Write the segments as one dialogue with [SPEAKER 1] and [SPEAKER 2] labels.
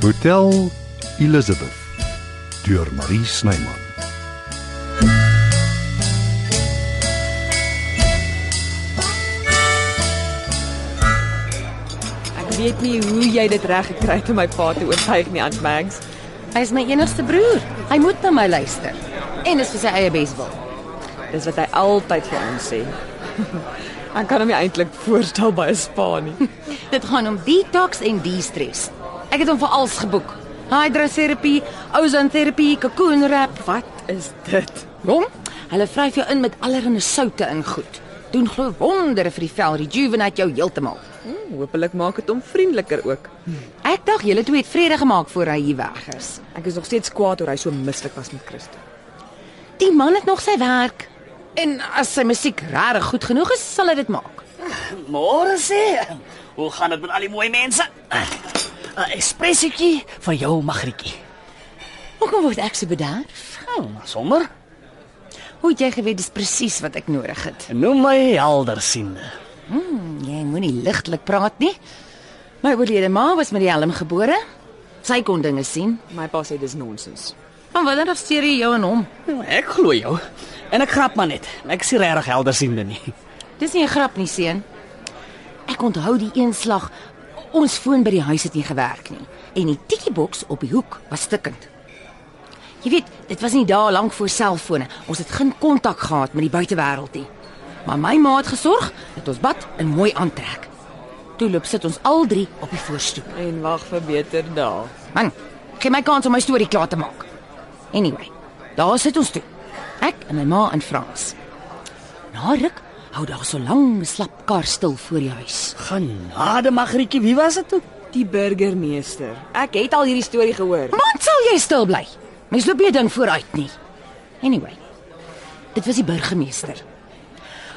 [SPEAKER 1] Vertel Elizabeth deur Marie Snyman.
[SPEAKER 2] Ek weet nie hoe jy dit reg gekry het om my pa te oortuig nie, Aunt Mags.
[SPEAKER 3] Hy is my enigste broer. Hy moet na my luister. En dis vir sy eie beswil.
[SPEAKER 2] Dis wat hy altyd vir ons sê. Ek kan hom nie eintlik voorstel by 'n spa nie.
[SPEAKER 3] Dit gaan om detox en de-stres. Ek het hom vir alles geboek. Hydroterapie, ozonterapie, cocoon wrap, wat?
[SPEAKER 2] Is dit?
[SPEAKER 3] Hom? Hulle vryf jou in met allerlei soute in goed. Doen glo wondere vir die vel, rejuvenate jou heeltemal.
[SPEAKER 2] Hmm, Hoopelik maak dit hom vriendeliker ook.
[SPEAKER 3] Ek dink julle twee het vrede gemaak voor hy hier weg is.
[SPEAKER 2] Ek is nog steeds kwaad oor hy so mislik was met Christo.
[SPEAKER 3] Die man het nog sy werk. En as sy musiek regtig goed genoeg is, sal hy dit maak.
[SPEAKER 4] Môre sê. Hoe gaan dit met al die mooi mense? 'n Espressietjie van jou magrietjie.
[SPEAKER 3] Hoekom word ek so bedaar?
[SPEAKER 4] Oh, sommer.
[SPEAKER 3] Hoe het jy geweet dis presies wat ek nodig het?
[SPEAKER 4] Noem my helder sien.
[SPEAKER 3] Jy moenie ligtelik praat nie. My oorlede ma was met die helm gebore. Sy kon dinge sien.
[SPEAKER 2] My pa sê dis nonsens.
[SPEAKER 3] Van wanneer af steur jy jou en hom?
[SPEAKER 4] Hm, Ek glo jou. En ek grap maar net. Ek sien regtig helder sien nie.
[SPEAKER 3] Dis nie 'n grap nie, seun. Ek onthou die een slag ons foon by die huis het nie gewerk nie en die tikkieboks op die hoek was stikkend. Jy weet, dit was nie daar lank voor selfone. Ons het geen kontak gehad met die buitewêreld nie. Maar my ma het gesorg dat ons bad en mooi aantrek. Toe loop sit ons al drie op die voorstoep.
[SPEAKER 2] En wag vir beter dae.
[SPEAKER 3] Man, gee my kans om my storie klaar te maak. Anyway, daar sit ons toe. Ek en my ma in Frans. Na ruk hou daar so lank slap kar stil voor die huis.
[SPEAKER 4] Genade magrietjie, wie was dit toe?
[SPEAKER 2] Die burgemeester. Ek het al hierdie storie gehoor.
[SPEAKER 3] Man, sal jy stil bly? Mens loop nie 'n ding vooruit nie. Anyway, dit was die burgemeester.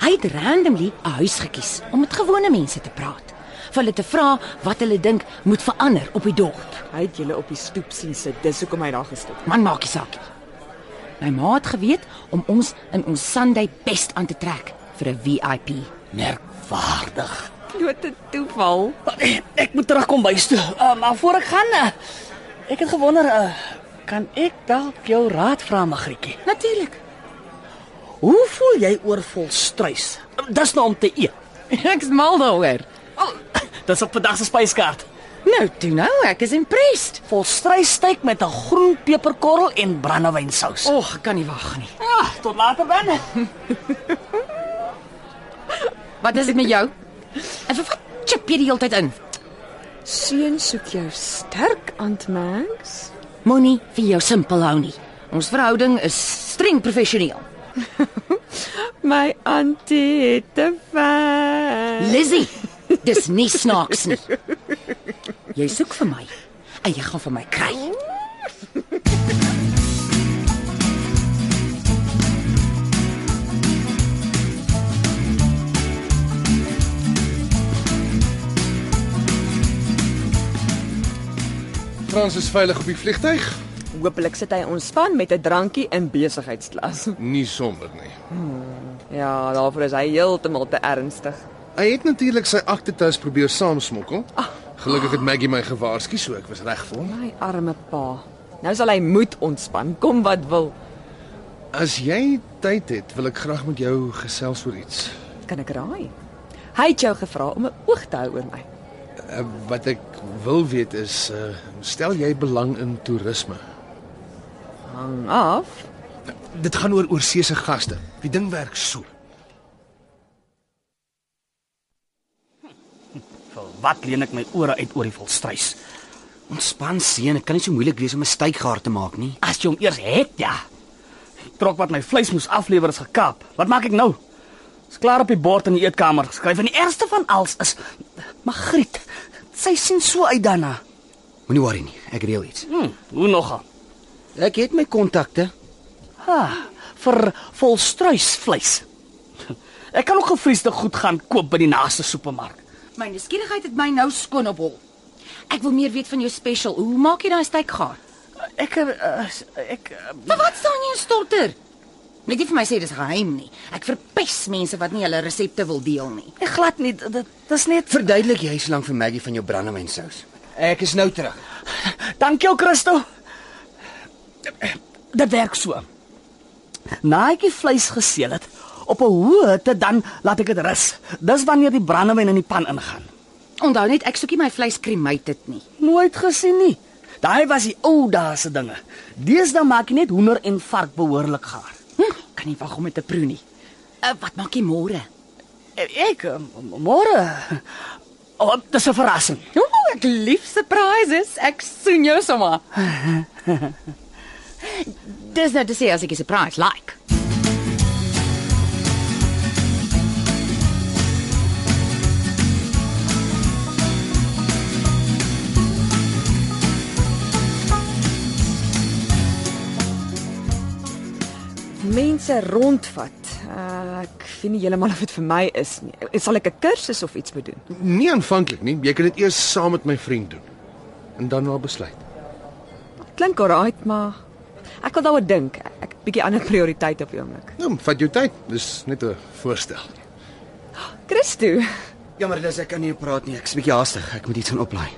[SPEAKER 3] Hy het randomly 'n huis gekies om met gewone mense te praat, vir hulle te vra wat hulle dink moet verander op die dorp.
[SPEAKER 2] Hy het julle op die stoep sien sit. Dis hoekom hy daar gestop.
[SPEAKER 3] Man maak nie saak nie. My ma het geweet om ons in ons Sunday best aan te trek vir 'n VIP.
[SPEAKER 4] Merkwaardig.
[SPEAKER 2] Blote toeval.
[SPEAKER 4] eh, Ek moet terugkom bys toe. Uh, maar voor ek gaan, uh, ek het gewonder, uh, kan ek dalk jou raad vra magrietjie?
[SPEAKER 3] Natuurlik.
[SPEAKER 4] Hoe voel jy oor volstruis? Dis nou om te eet.
[SPEAKER 3] Ek's mal daaroor.
[SPEAKER 4] Oh, dis op vandag se spyskaart.
[SPEAKER 3] Nou toe nou, ek is impressed.
[SPEAKER 4] Volstrysteek met 'n groen peperkorrel en brandewynsaus. Oh.
[SPEAKER 3] Och, ek kan nie wag nie.
[SPEAKER 4] Ah, tot later dan.
[SPEAKER 3] Wat is dit met jou? En vir wat chip jy die hele tyd in?
[SPEAKER 2] Seun soek jou sterk, Aunt Mags.
[SPEAKER 3] Moenie vir jou simpel hou nie. Ons verhouding is streng professioneel.
[SPEAKER 2] My auntie het 'n ver.
[SPEAKER 3] Lizzy, dis nie snaaks nie. Jy soek vir my en jy gaan vir my kry.
[SPEAKER 5] Frans is veilig op die vliegtyg?
[SPEAKER 2] Hoopelik sit hy ontspan met 'n drankie in besigheidsklas.
[SPEAKER 5] Nie sommer nie.
[SPEAKER 2] Ja, daarvoor is hy heeltemal te ernstig.
[SPEAKER 5] Hy het natuurlik sy aktetas probeer saamsmokkel. Gelukkig het Maggie my gewaarsku, so ek was reg vir hom.
[SPEAKER 2] My arme pa. Nou sal hy moet ontspan, kom wat wil.
[SPEAKER 5] As jy tyd het, wil ek graag met jou gesels oor iets
[SPEAKER 2] Kan ek raai? Hy het jou gevra om 'n oog te hou oor my.
[SPEAKER 5] uh, wat ek wil weet is uh, stel jy belang in toerisme?
[SPEAKER 2] Hang af.
[SPEAKER 5] Dit gaan oor oorseese gaste. Die ding werk so.
[SPEAKER 4] Vir wat leen ek my ore uit oor die volstruis?
[SPEAKER 6] Ontspan seun, dit kan nie so moeilik wees om 'n steekgaar te maak nie.
[SPEAKER 4] As jy hom eers het, ja. Die Trok wat my vleis moes aflewer is gekaap. Wat maak ek nou? Is klaar op die bord in die eetkamer geskryf en die ergste van alles is Magriet. Sy sien so uit daarna.
[SPEAKER 6] Moenie worry nie, ek reël iets.
[SPEAKER 4] Hm, hoe nogal?
[SPEAKER 6] Ek het my kontakte.
[SPEAKER 4] Ha, vir volstruisvleis. Ek kan ook gevriesde goed gaan koop by die naaste supermark.
[SPEAKER 3] My nuuskierigheid het my nou skoon op hol. Ek wil meer weet van jou special. Hoe maak jy daai steekgaar?
[SPEAKER 4] Ek uh, ek uh,
[SPEAKER 3] Vir wat staan jy in stolter? Net nie vir my sê dis geheim nie. Ek verpes mense wat nie hulle resepte wil deel nie.
[SPEAKER 4] ek glad nie dit dis net
[SPEAKER 6] Verduidelik jy slank vir Maggie van jou brandewyn sous. Ek is nou terug.
[SPEAKER 4] Dankie ou Christo. Dit werk so. Na ek die vleis geseel het, op 'n hoë hitte dan laat ek dit rus. Dis wanneer die brandewyn in die pan ingaan.
[SPEAKER 3] Onthou net ek soekie my vleis kremate dit nie.
[SPEAKER 4] Nooit gesien nie. Daai was die ou dae se dinge. Deesdae maak jy net hoender en vark behoorlik gaar.
[SPEAKER 3] Hm, kan nie wag om dit te proe nie. Uh, wat maak jy môre?
[SPEAKER 4] Ek eh, m- môre. Oh, dis 'n verrassing.
[SPEAKER 2] Ooh, ek lief surprises. Ek soen jou sommer.
[SPEAKER 3] Dis nou te sê as ek 'n surprise like.
[SPEAKER 2] Mense rondvat. Uh, ek weet nie heeltemal of dit vir my is nie. Sal ek 'n kursus of iets moet doen?
[SPEAKER 5] Nie aanvanklik nie. Jy kan dit eers saam met my vriend doen en dan na besluit.
[SPEAKER 2] Klink alright, maar ek wil daaroor dink. Ek ek het 'n bietjie ander prioriteit op die oomblik.
[SPEAKER 5] Nou, vat jou tyd. Dis net 'n voorstel.
[SPEAKER 2] Christo,
[SPEAKER 6] Jammer, dis ek kan nie praat nie. Ek's bietjie haastig. Ek moet iets gaan oplaai.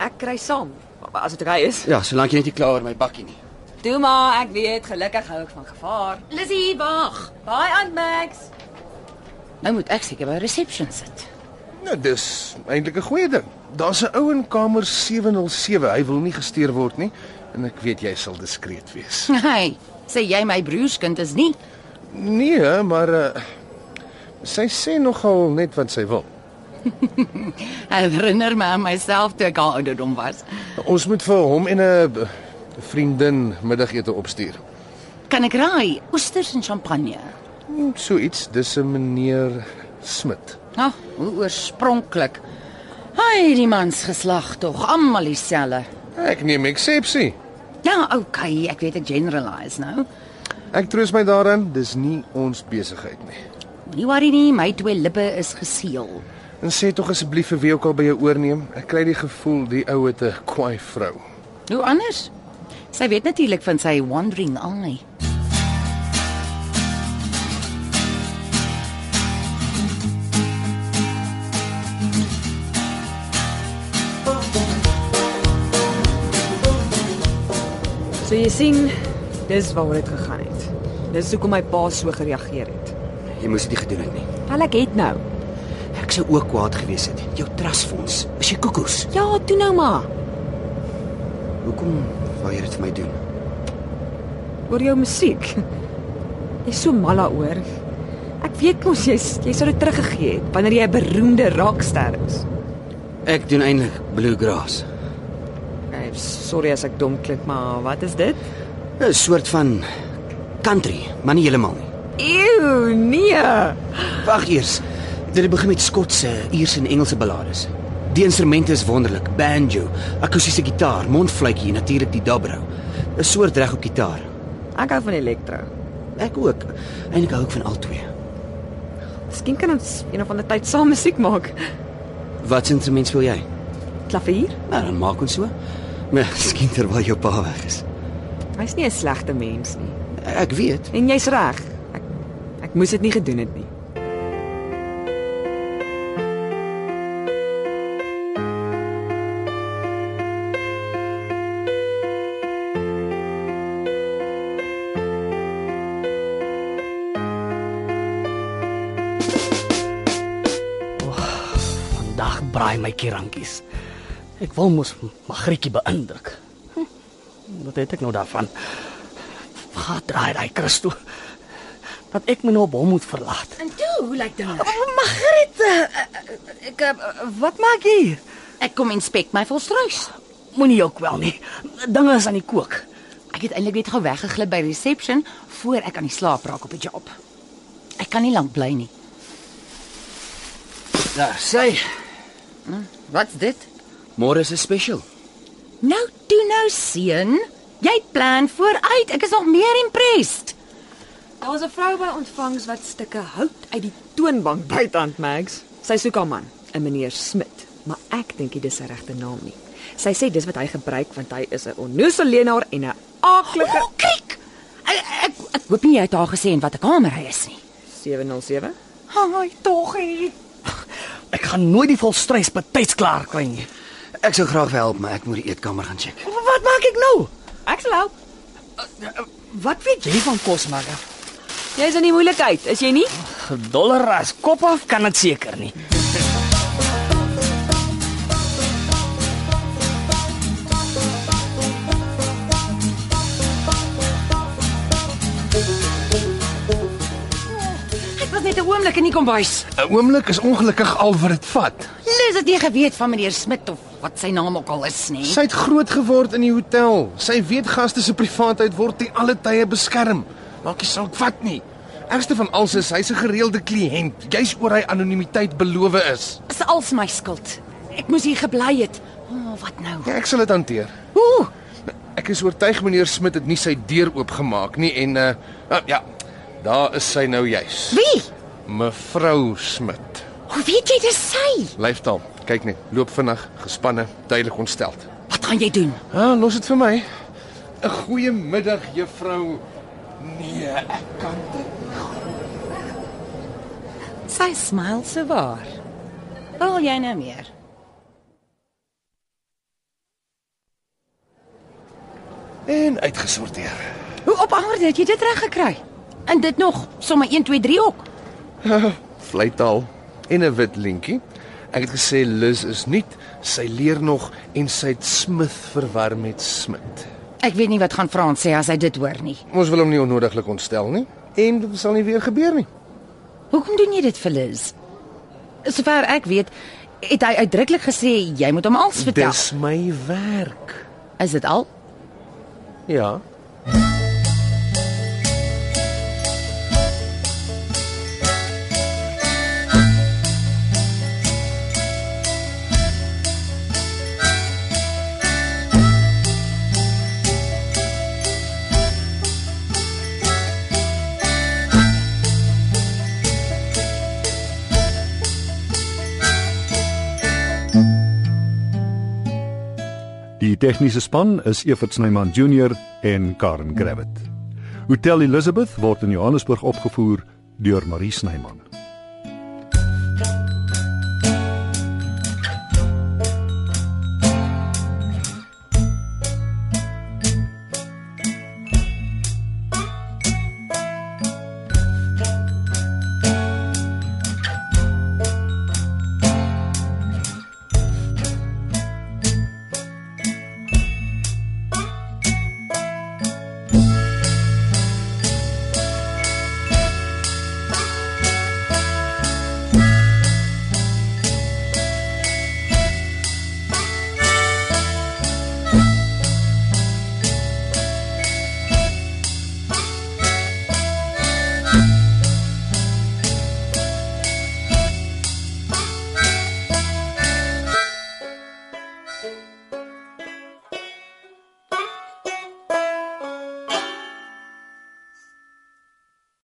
[SPEAKER 2] ek kry saam as dit reg is.
[SPEAKER 6] Ja, solank jy net nie klaar oor my bakkie nie.
[SPEAKER 2] Toe maar, ek weet gelukkig hou ek van gevaar.
[SPEAKER 3] Lizzie, wag.
[SPEAKER 2] Baie aan Max.
[SPEAKER 3] Nou moet ek seker by reception sit.
[SPEAKER 5] Nou, dis eintlik 'n goeie ding. Daar's 'n ou in kamer 707. Hy wil nie gesteer word nie en ek weet jy sal diskreet wees.
[SPEAKER 3] Hey, sê jy my broerskind is nie.
[SPEAKER 5] Nee, maar uh, sy sê nogal net wat sy wil.
[SPEAKER 3] Ek herinner my aan myself toe ek al ouderdom was.
[SPEAKER 5] Ons moet vir hom en 'n vriendin middagete opstuur.
[SPEAKER 3] Kan ek raai? Oesters en champagne.
[SPEAKER 5] Hmm, So iets, dis 'n meneer Smit.
[SPEAKER 3] Ag, oh, hoe oorspronklik. Hy, die mans geslag tog, almal dieselfde.
[SPEAKER 5] Ek neem eksepsie.
[SPEAKER 3] Ja, okay, ek weet ek generalize nou.
[SPEAKER 5] Ek troos my daarin, dis nie ons besigheid nie.
[SPEAKER 3] Nie worry nie, my twee lippe is geseël.
[SPEAKER 5] En sê tog asseblief vir wie ook al by jou oorneem, ek kry die gevoel die ou het 'n kwaai vrou.
[SPEAKER 3] Hoe anders? Sy weet natuurlik van sy wandering eye.
[SPEAKER 2] So jy sien, dis waaroor dit gegaan het. Dis hoekom my pa so gereageer het.
[SPEAKER 6] Jy moes dit nie gedoen het nie.
[SPEAKER 2] Wel ek het nou.
[SPEAKER 6] Ek sou ook kwaad gewees het. Jou trustfonds. Is jy koekoes?
[SPEAKER 2] Ja, toe nou maar.
[SPEAKER 6] Hoekom wou jy dit vir my doen?
[SPEAKER 2] Oor jou musiek. Jy's so mal daaroor. Ek weet mos jy's jy sou dit teruggegee het wanneer jy 'n beroemde rockster is.
[SPEAKER 6] Ek doen eintlik bluegrass.
[SPEAKER 2] Okay, sorry as ek dom klink, maar wat is dit?
[SPEAKER 6] 'n Soort van country, maar nie heeltemal nie.
[SPEAKER 2] Ew, nee.
[SPEAKER 6] Wag eers. Dit begin met Skotse, Ierse en Engelse ballades. Die instrumente is wonderlik: banjo, akoestiese gitaar, mondfluitjie en natuurlik die dobro. 'n Soort regop gitaar.
[SPEAKER 2] Ek hou van elektro.
[SPEAKER 6] Ek ook. Eintlik hou ek van al twee.
[SPEAKER 2] Miskien kan ons een of ander tyd saam musiek maak.
[SPEAKER 6] Wat instrument speel jy?
[SPEAKER 2] Klavier?
[SPEAKER 6] Nou, dan maak ons so. Nee, Miskien terwyl jou pa weg is.
[SPEAKER 2] Hy's nie 'n slegte mens nie.
[SPEAKER 6] Ek weet.
[SPEAKER 2] En jy's reg. Ek ek moes dit nie gedoen het nie.
[SPEAKER 4] Vandag braai my kierankies. Ek wil mos Magrietjie beïndruk. Hm, Wat het ek nou daarvan? Wat draai daai Christo? Dat ek my nou op hom moet verlaat.
[SPEAKER 3] En toe, hoe lyk dinge?
[SPEAKER 4] Magriet,
[SPEAKER 3] eh,
[SPEAKER 4] ek Eh, wat maak jy hier?
[SPEAKER 3] Ek kom inspek my volstruis.
[SPEAKER 4] Moenie jou kwel nie. Dinge is aan die kook.
[SPEAKER 3] Ek het eintlik net gou weggeglip by reception voor ek aan die slaap raak op die job. Ek kan nie lank bly nie.
[SPEAKER 6] Daar sê,
[SPEAKER 3] Wat's dit?
[SPEAKER 6] môre is 'n special.
[SPEAKER 3] Nou toe nou seun, jy plan vooruit. Ek is nog meer impressed.
[SPEAKER 2] Daar was 'n vrou by ontvangs wat stukke hout uit die toonbank bytand Max. Sy soek haar man, 'n meneer Smit, maar ek dink nie dis sy regte naam nie. Sy sê dis wat hy gebruik want hy is 'n onnoosele leienaar en 'n
[SPEAKER 3] O,
[SPEAKER 2] aaklige
[SPEAKER 3] oh, kyk. Ek, ek ek hoop nie jy het haar gesê in watter kamer hy is nie.
[SPEAKER 2] 707.
[SPEAKER 3] Haai, tog hy.
[SPEAKER 4] Ek gaan nooit die volstruis betyds klaar kry nie.
[SPEAKER 6] Ek sou graag help, maar ek moet die eetkamer gaan check.
[SPEAKER 4] Wat maak ek nou?
[SPEAKER 2] Ek sal help.
[SPEAKER 4] Wat weet jy van kos maak?
[SPEAKER 2] Jy's in die moeilikheid, is jy nie?
[SPEAKER 4] Dollar as kop af kan dit seker nie.
[SPEAKER 3] Ek was net 'n oomblik in die kombuis.
[SPEAKER 5] 'n Oomblik is ongelukkig al wat dit vat.
[SPEAKER 3] Liz het nie geweet van meneer Smit of wat sy naam ook al is nie.
[SPEAKER 5] Sy het groot geword in die hotel. Sy weet gaste se privaatheid word te alle tye beskerm. Maak nie saak wat nie. Ergste van alles is hy's 'n gereelde kliënt, juis oor hy anonimiteit beloof is.
[SPEAKER 3] Dis als my skuld. Ek moes hier gebly het. O, oh, wat nou?
[SPEAKER 5] Ja, ek sal dit hanteer.
[SPEAKER 3] Ooh,
[SPEAKER 5] Ek is oortuig meneer Smit het nie sy deur oopgemaak nie en uh ah, ja, daar is sy nou juis.
[SPEAKER 3] wie?
[SPEAKER 5] Mevrou Smit.
[SPEAKER 3] Hoe weet jy dis sy?
[SPEAKER 5] Lyfstaal. Kyk net, loop vinnig, gespanne, duidelik ontsteld.
[SPEAKER 3] Wat gaan jy doen?
[SPEAKER 5] Ah, los dit vir my. 'n Goeiemiddag, juffrou. Nee, ek kan dit
[SPEAKER 3] Sy smil se waar. Wil jy nou meer?
[SPEAKER 5] en uitgesorteer.
[SPEAKER 3] Hoe op aarde het jy dit reg gekry? En dit nog sommer 1 2 3 ook.
[SPEAKER 5] Vleitaal en 'n wit lintjie. Ek het gesê Liz is nie, sy leer nog en sy het Smith verwar met Smit.
[SPEAKER 3] Ek weet nie wat gaan Frans sê as hy dit hoor nie.
[SPEAKER 5] Ons wil hom nie onnodiglik ontstel nie en dit sal nie weer gebeur nie.
[SPEAKER 3] Hoekom doen jy dit vir Liz? Sover ek weet, het hy uitdruklik gesê jy moet hom alles
[SPEAKER 6] Ja.
[SPEAKER 3] vertel.
[SPEAKER 5] Dis my werk.
[SPEAKER 3] Is dit al?
[SPEAKER 5] Ja.
[SPEAKER 1] Die tegniese span is Evert Snyman Junior en Karen Gravett. Hotel Elizabeth word in Johannesburg opgevoer deur Marie Snyman.